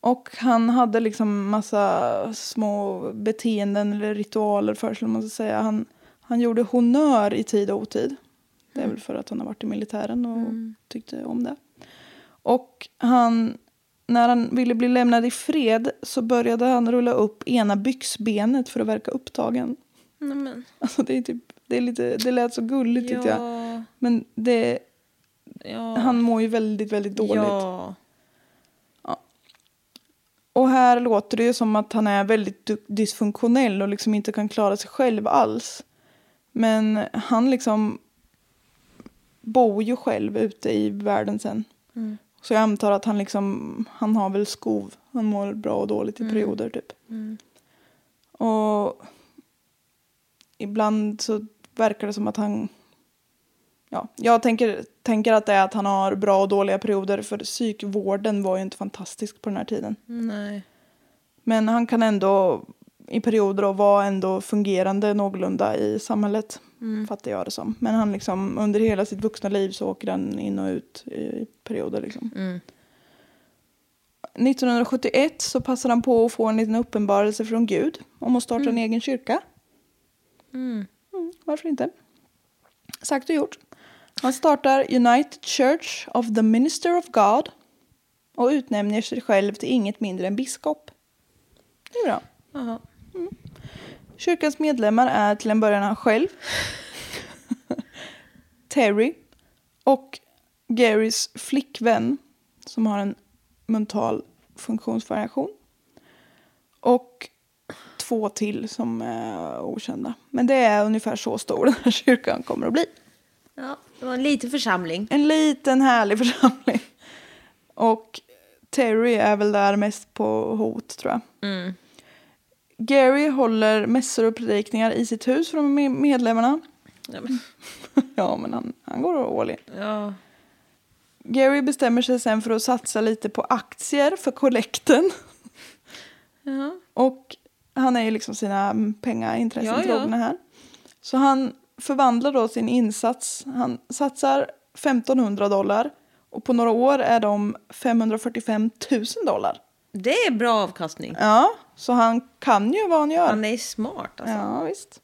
Och han hade liksom massa små beteenden eller ritualer för sig, om man ska säga. Han, han gjorde honör i tid och otid. Det är väl för att han har varit i militären och tyckte om det. Och han, när han ville bli lämnad i fred så började han rulla upp ena byxbenet för att verka upptagen.
Nej, men.
Alltså det, är typ, det, är lite, det lät så gulligt tyckte jag. Men det,
ja.
han mår ju väldigt, väldigt dåligt.
Ja.
Och här låter det ju som att han är väldigt du- dysfunktionell och liksom inte kan klara sig själv alls. Men han liksom bor ju själv ute i världen sen.
Mm,
Så jag antar att han liksom, han har väl skov. Han mår bra och dåligt i perioder typ. Och ibland så verkar det som att han Ja, jag tänker, tänker att det är att han har bra och dåliga perioder för psykvården var ju inte fantastisk på den här tiden.
Nej.
Men han kan ändå i perioder då vara ändå fungerande någorlunda i samhället. Fattar jag det som. Men han liksom under hela sitt vuxna liv så åker han in och ut i perioder liksom. 1971 så passar han på att få en liten uppenbarelse från Gud om att starta en egen kyrka. Mm, varför inte? Sagt och gjort. Han startar United Church of the Minister of God och utnämner sig själv till inget mindre än biskop. Det är bra.
Jaha.
Kyrkans medlemmar är till en början han själv, Terry och Garys flickvän som har en mental funktionsvariation. Och två till som är okända. Men det är ungefär så stor den här kyrkan kommer att bli.
Ja, det var en liten församling.
En liten härlig församling. Och Terry är väl där mest på hot tror jag. Gary håller mässor och predikningar i sitt hus för de med- medlemmarna.
Ja, men.
Ja, men han, han går all in.
Ja.
Gary bestämmer sig sen för att satsa lite på aktier för kollekten.
Ja.
Och han är ju liksom sina mm, pengaintressen
Ja, ja.
trogna här. Så han förvandlar då sin insats. Han satsar 1500 dollar och på några år är de 545 000 dollar.
Det är bra avkastning.
Ja, så han kan ju vad han gör.
Han är smart alltså.
Ja, visst.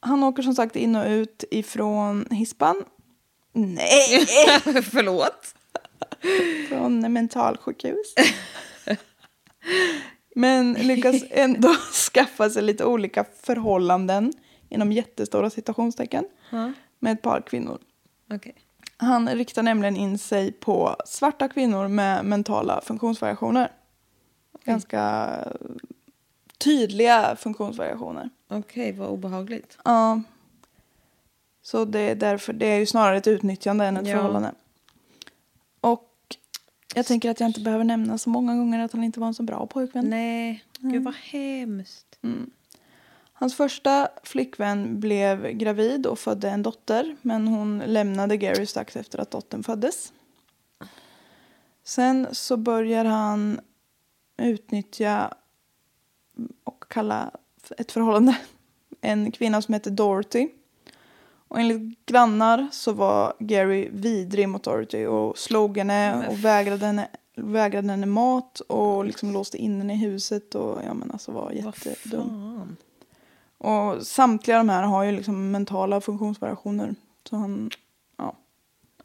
Han åker som sagt in och ut ifrån hispan. Nej!
Förlåt.
från mentalsjukhus. Men lyckas ändå skaffa sig lite olika förhållanden inom jättestora citationstecken med ett par kvinnor.
Okej.
Han riktar nämligen in sig på svarta kvinnor med mentala funktionsvariationer. Ganska tydliga funktionsvariationer.
Okej, vad obehagligt.
Ja. Så det är därför, det är ju snarare ett utnyttjande än ett
Ja.
förhållande. Jag tänker att jag inte behöver nämna så många gånger att han inte var en så bra pojkvän.
Nej, gud vad hemskt.
Hans första flickvän blev gravid och födde en dotter men hon lämnade Gary strax efter att dottern föddes. Sen så börjar han utnyttja och kalla ett förhållande en kvinna som heter Dorothy. Och enligt grannar så var Gary vidrig mot Dorothy och slog henne och vägrade henne, vägrade henne mat och liksom låste in henne i huset och ja men alltså var jättedum.
Fan.
Och samtliga de här har ju liksom mentala funktionsvariationer. Så han, ja.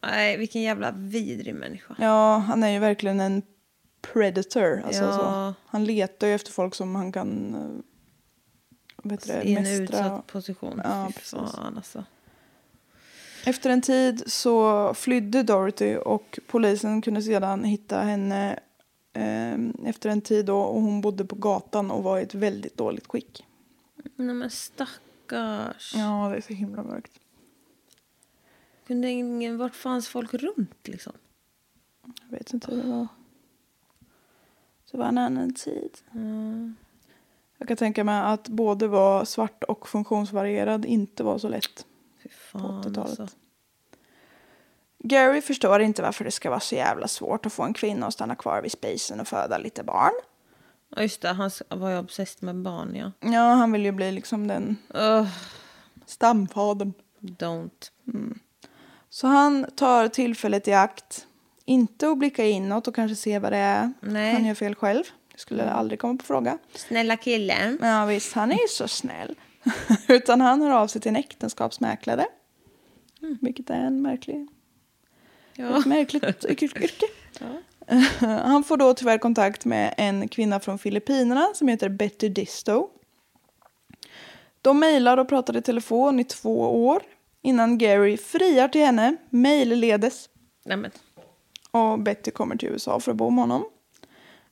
Nej, vilken jävla vidrig människa.
ja, han är ju verkligen en predator. Alltså,
Ja.
så. Han letar ju efter folk som han kan eh, vad heter det,
I en
mästra.
utsatt position.
Ja,
Fy
precis.
Fan, alltså.
Efter en tid så flydde Dorothy och polisen kunde sedan hitta henne eh, efter en tid då, och hon bodde på gatan och var i ett väldigt dåligt skick.
Nej men stackars.
Ja, det är så himla mörkt.
Kunde ingen, vart fanns folk runt liksom?
Jag vet inte hur det var. Så det var en annan tid. Jag kan tänka mig att både vara svart och funktionsvarierad inte var så lätt.
Fy fan
80-talet.
alltså.
Gary förstår inte varför det ska vara så jävla svårt att få en kvinna att stanna kvar vid spisen och föda lite barn.
Ja just det, han s- var ju obsessed med barn ja.
Ja, han vill ju bli liksom den
Ugh,
stamfadern.
don't.
Så han tar tillfället i akt. Inte att blicka inåt och kanske se vad det är
Nej.
han gör fel själv. Det skulle aldrig komma på fråga.
Snälla killen.
Men Mm. Ja visst, han är ju så snäll. Utan han hör av sig till en äktenskapsmäklare. Vilket är en märklig,
Ja.
ett märkligt yr- yrke. Han får då tyvärr kontakt med en kvinna från Filippinerna som heter Betty Disto. De mejlar och pratar i telefon i två år innan Gary friar till henne mejlledes
Nej men.
och Betty kommer till USA för att bo med honom.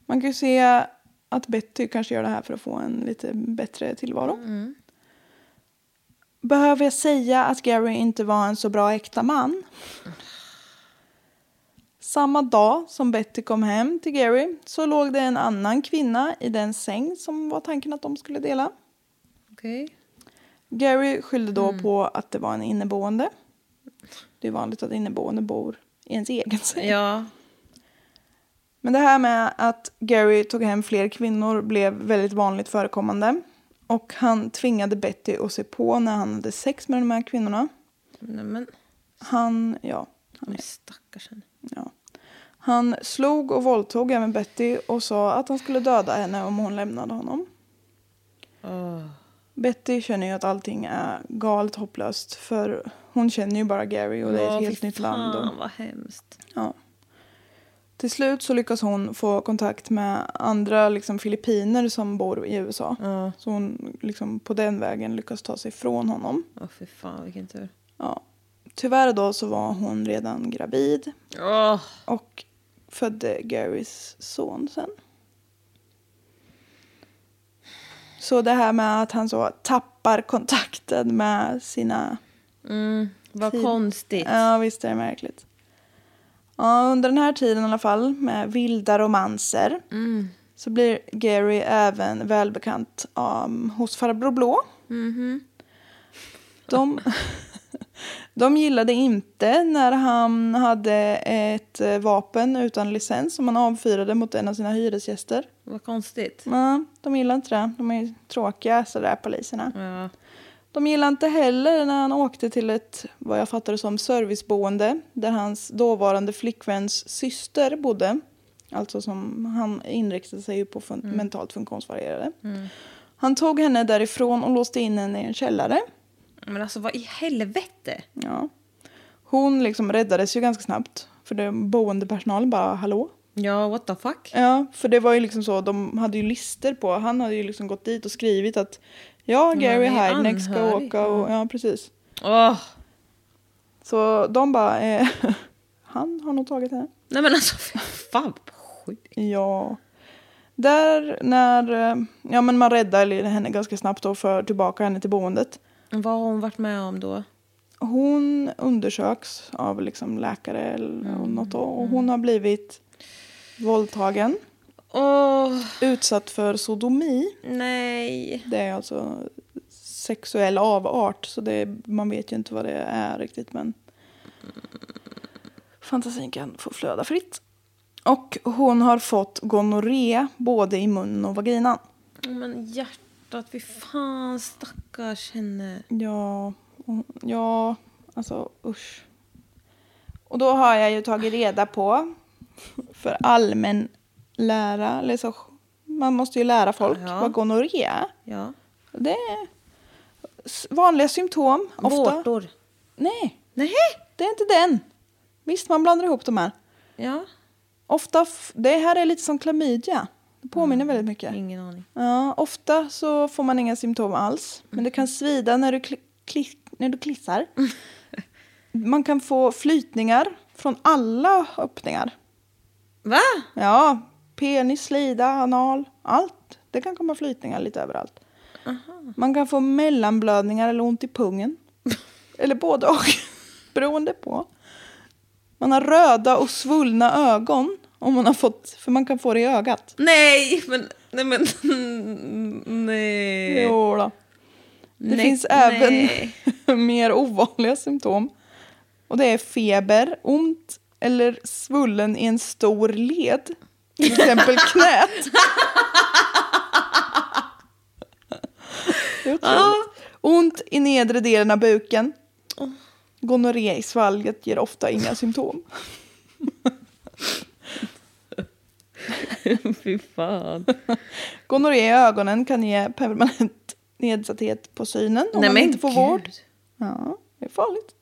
Man kan ju se att Betty kanske gör det här för att få en lite bättre tillvaro. Behöver jag säga att Gary inte var en så bra äkta man? Samma dag som Betty kom hem till Gary så låg det en annan kvinna i den säng som var tanken att de skulle dela.
Okej.
Gary skyllde då på att det var en inneboende. Det är vanligt att inneboende bor i ens egen säng.
Ja.
Men det här med att Gary tog hem fler kvinnor blev väldigt vanligt förekommande. Och han tvingade Betty att se på när han hade sex med de här kvinnorna.
Nej men.
Han, ja,
Men stackars henne.
ja. Han slog och våldtog även Betty och sa att han skulle döda henne om hon lämnade honom.
Åh.
Betty känner ju att allting är galet hopplöst för hon känner ju bara Gary och det är
Ja,
ett
fy
helt nytt land. Och...
Fan vad hemskt.
Ja. Till slut så lyckas hon få kontakt med andra liksom, filippiner som bor i USA. Så hon liksom, på den vägen lyckas ta sig från honom.
Åh fy fan vilken tur.
Ja. Tyvärr då så var hon redan gravid
Åh.
och födde Garys son sen. Så det här med att han så tappar kontakten med sina
Vad
Fint.
konstigt.
Ja, visst är det märkligt. Ja, under den här tiden i alla fall, med vilda romanser, så blir Gary även välbekant um, hos farbror Blå. De, de gillade inte när han hade ett eh, vapen utan licens som han avfyrade mot en av sina hyresgäster.
Vad konstigt.
Ja, de gillar inte det. De är ju tråkiga, sådär poliserna.
Ja.
De gillade inte heller när han åkte till ett, vad jag fattade som, serviceboende där hans dåvarande flickväns syster bodde. Alltså som han inriktade sig ju på fun- mentalt funktionsvarierade. Han tog henne därifrån och låste in henne i en källare.
Men alltså vad i helvete.
Ja. Hon liksom räddades ju ganska snabbt. För den boendepersonalen bara, hallå?
Ja what the fuck.
Ja, för det var ju liksom så, de hade ju lister på, han hade ju liksom gått dit och skrivit att ja, Gary
han är
Heidneck ska
anhörig,
åka och, ja precis.
Åh.
Så de bara, eh, han har nog tagit henne.
Nej men alltså fy fan vad sjukt.
Ja. Där när, eh, ja men man räddar henne ganska snabbt och för tillbaka henne till boendet.
Vad har hon varit med om då?
Hon undersöks av liksom läkare eller något och hon har blivit Våldtagen. Utsatt för sodomi.
Nej.
Det är alltså sexuell avart, så det, man vet ju inte vad det är riktigt. Men fantasin kan få flöda fritt. Och hon har fått gonorré både i munnen och vaginan.
Men hjärtat, fy fan stackars henne.
Ja, och- ja, alltså usch. Och då har jag ju tagit reda på, för allmän lära, eller så, man måste ju lära folk
Ja.
vad gonorré är.
Ja.
Det är s- vanliga symptom. Ofta.
Vårtor.
Nej,
Nej.
det är inte den. Visst, man blandar ihop de här.
Ja.
Ofta, f- det här är lite som klamydia. Det påminner
Mm.
väldigt mycket.
Ingen aning.
Ja, ofta så får man inga symptom alls, men det kan svida när du, kli- kli- när du klissar. Man kan få flytningar från alla öppningar.
Va?
Ja, penis, slida, anal, allt. Det kan komma flytningar lite överallt. Man kan få mellanblödningar eller ont i pungen. eller både och, beroende på. Man har röda och svullna ögon, om man har fått, för man kan få det i ögat.
Nej, men... Nej, men... Nej.
Jo då. Det
Nej,
finns
nej.
även mer ovanliga symptom. Och det är feber, ont eller svullen i en stor led. Till exempel knät. Det är otroligt. Ont i nedre delen av buken. Gonorré i svalget ger ofta inga symptom.
Fy fan.
Gonorré i ögonen kan ge permanent nedsatthet på synen om man inte får vård. Ja, det är farligt.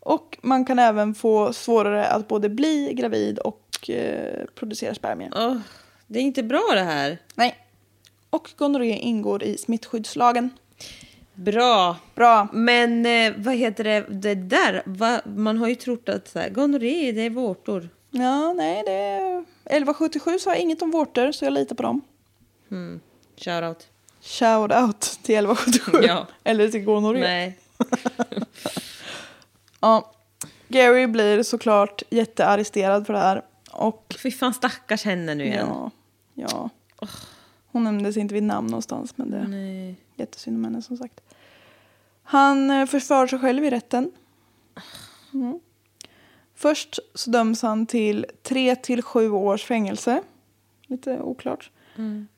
Och man kan även få svårare att både bli gravid och eh, producera spermier.
Åh, det är inte bra det här.
Nej. Och gonorré ingår i smittskyddslagen.
Bra.
Bra.
Men eh, vad heter det, det där? Va? Man har ju trott att så här, gonorré, det är vårtor.
Ja, nej, det är... 1177 sa inget om vårtor, så jag litar på dem.
Shoutout.
Shout out till 1177.
Ja.
Eller till gonorré.
Nej.
Ja. Gary blir såklart jättearresterad för det här. Och
Fy fan stackars henne nu igen.
ja, ja. Hon nämndes inte vid namn någonstans, men det...
Nej.
Jättesynd om henne som sagt. Han eh, försvarar sig själv i rätten. Mm. Först så döms han till tre till sju års fängelse. Lite oklart.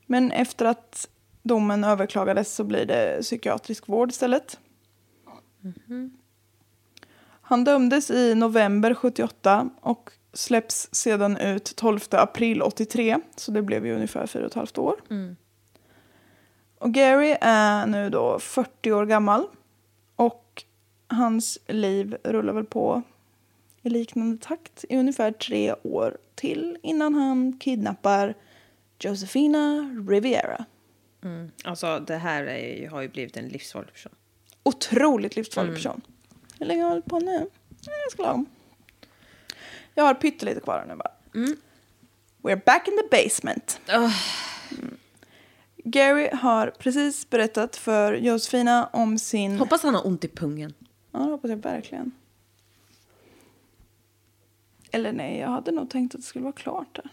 Men efter att domen överklagades så blir det psykiatrisk vård istället. Han dömdes i november 78 och släpps sedan ut 12 april 83. Så det blev ju ungefär fyra och ett halvt år. Och Gary är nu då 40 år gammal. Och hans liv rullar väl på i liknande takt i ungefär tre år till innan han kidnappar Josefina Riviera.
Alltså det här är, ju- har ju blivit en livsfarlig person.
Otroligt livsfarlig person. Hur länge har jag hållit på nu? Nej, Jag ska lagom. Jag har pyttelite kvar nu bara. We're back in the basement. Mm. Gary har precis berättat för Josefina om sin...
Hoppas han har ont i pungen.
Ja, det hoppas jag verkligen. Eller nej, jag hade nog tänkt att det skulle vara klart där.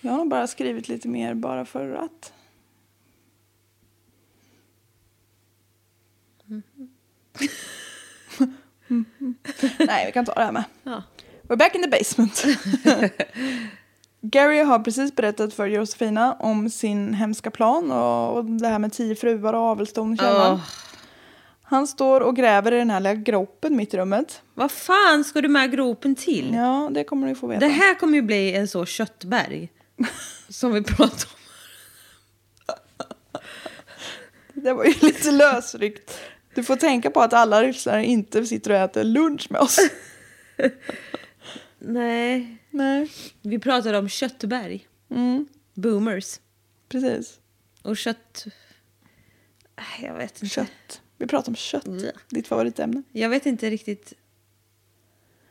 Jag har nog bara skrivit lite mer bara för att.
Mm-hmm.
nej, vi kan ta det här med.
Ja.
We're back in the basement. Gary har precis berättat för Josefina om sin hemska plan och och det här med tio fruar och avelston i källaren.
Åh.
Han står och gräver i den här lilla gropen mitt i rummet.
Vad fan ska du med gropen till?
Ja, det kommer du få veta.
Mm. Det här kommer ju bli en så köttberg. som vi pratade om.
Det var ju lite lösryckt. Du får tänka på att alla lyssnare inte sitter och äter lunch med oss.
Nej.
Nej,
Vi pratade om köttberg.
Mm.
Boomers.
precis.
Och kött... Äh, Jag vet inte.
Kött. Vi pratar om kött.
Mm.
Ditt favoritämne.
Jag vet inte riktigt.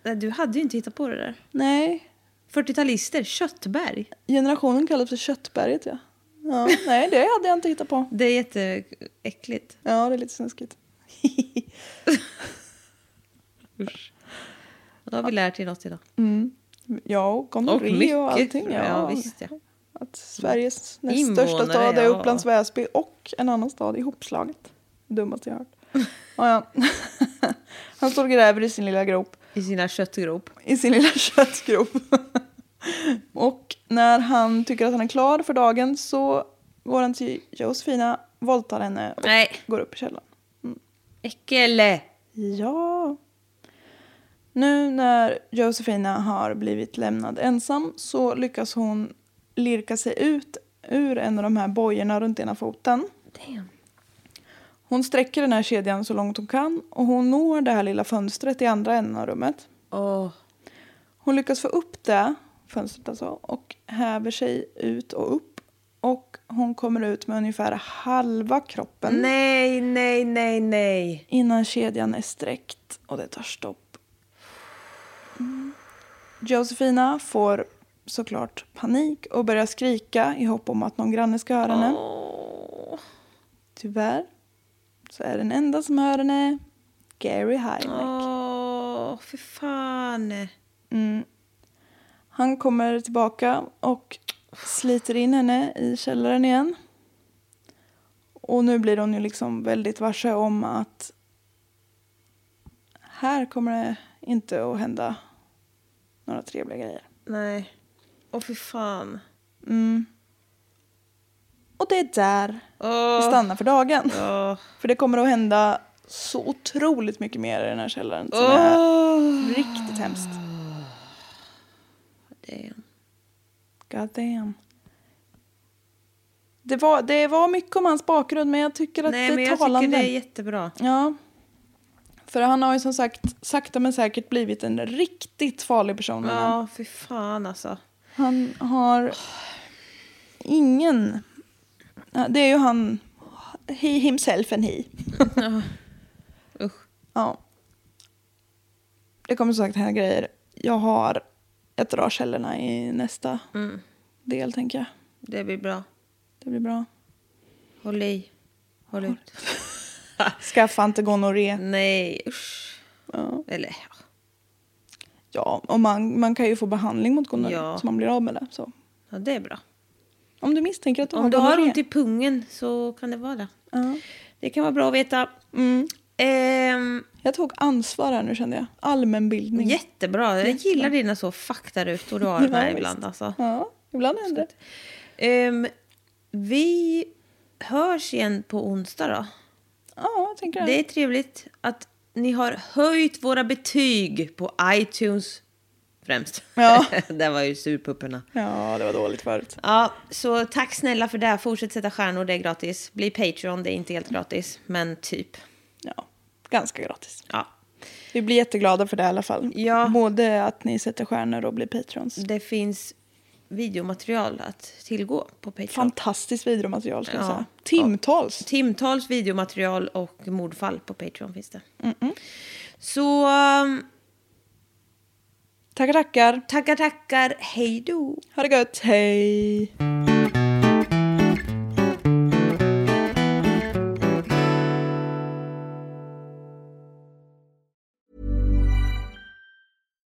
Nej, Du hade ju inte hittat på det där.
Nej,
40-talister, köttberg.
generationen kallas för köttberget ja. ja. Nej, det hade jag inte hittat på.
Det är jätteäckligt.
Ja, det är lite snuskigt.
Och då har vi lärt er något idag.
Mm. Ja, och gonorré och, allting.
Ja, visst ja.
Att Sveriges näst
Invånare,
största stad är
ja.
Upplands Väsby och en annan stad ihopslaget. Dummaste jag hört. Ja, ja. Han står och gräver i sin lilla grop.
I sina köttgrop.
I sin lilla köttgrop. och när han tycker att han är klar för dagen så går han till Josefina, våldtar henne och
Nej.
går upp i källaren.
Äckel!
Ja. Nu när Josefina har blivit lämnad ensam så lyckas hon lirka sig ut ur en av de här bojorna runt ena foten.
Damn.
Hon sträcker den här kedjan så långt hon kan och hon når det här lilla fönstret i andra änden av rummet.
Åh.
Hon lyckas få upp det fönstret alltså och häver sig ut och upp och hon kommer ut med ungefär halva kroppen
Nej, nej, nej, nej.
innan kedjan är sträckt och det tar stopp. Mm. Josefina får såklart panik och börjar skrika i hopp om att någon granne ska höra henne.
Åh.
Tyvärr så är den enda som hör henne Gary Heineck.
Åh, för fan.
Mm. Han kommer tillbaka och sliter in henne i källaren igen. Och nu blir hon ju liksom väldigt varse om att här kommer det inte att hända några trevliga grejer.
Nej. Åh, för fan.
Mm. Och det är där vi
Åh.
stannar för dagen.
Åh.
För det kommer att hända så otroligt mycket mer i den här källaren som är
Åh.
riktigt hemskt.
Damn.
God damn. Det var, det var mycket om hans bakgrund men jag tycker att
Nej,
det
men
är
jag tycker
talande.
det är jättebra.
Ja. För han har ju som sagt sakta men säkert blivit en riktigt farlig person. den här.
Ja, för fan alltså.
Han har ingen... Ja, Det är ju han... He himself and he.
Usch.
Ja. Det kommer som sagt hända grejer. Jag har... Jag drar källorna i nästa del, tänker jag.
Det blir bra.
Det blir bra.
Håll i. Håll ut.
Skaffa inte gonorré.
Nej, usch.
Ja,
Eller ja.
ja och man, man kan ju få behandling mot gonorré,
Ja.
så man blir av med det. Så.
ja, det är bra.
Om du misstänker att du har
Om du har
gonorré.
ont i pungen så kan det vara det.
Ja.
Det kan vara bra att veta.
Mm.
Ehm,
Jag tog ansvar här nu, kände jag. Allmänbildning.
jättebra. Jag gillar dina så faktarutor du har
Mm. Ja,
med
visst.
ibland. Alltså.
Ja, ibland händer det.
Ehm, vi hörs igen på onsdag då.
Ja, jag tänker det.
Det är trevligt att ni har höjt våra betyg på iTunes främst.
Ja.
det var ju surpupporna.
Ja, det var dåligt förut.
Ja, så tack snälla för det. Fortsätt sätta stjärnor, det är gratis. Bli Patreon, det är inte helt gratis, men typ.
Ja, ganska gratis.
Ja,
Vi blir jätteglada för det i alla fall.
Ja.
Både att ni sätter stjärnor och blir patrons.
det finns videomaterial att tillgå på Patreon.
Fantastiskt videomaterial ska jag
Ja.
säga. Timtals.
Timtals videomaterial och mordfall på Patreon finns det. Så um,
Tackar, tackar.
tackar, tackar, hej då!
Ha det gött. Hej.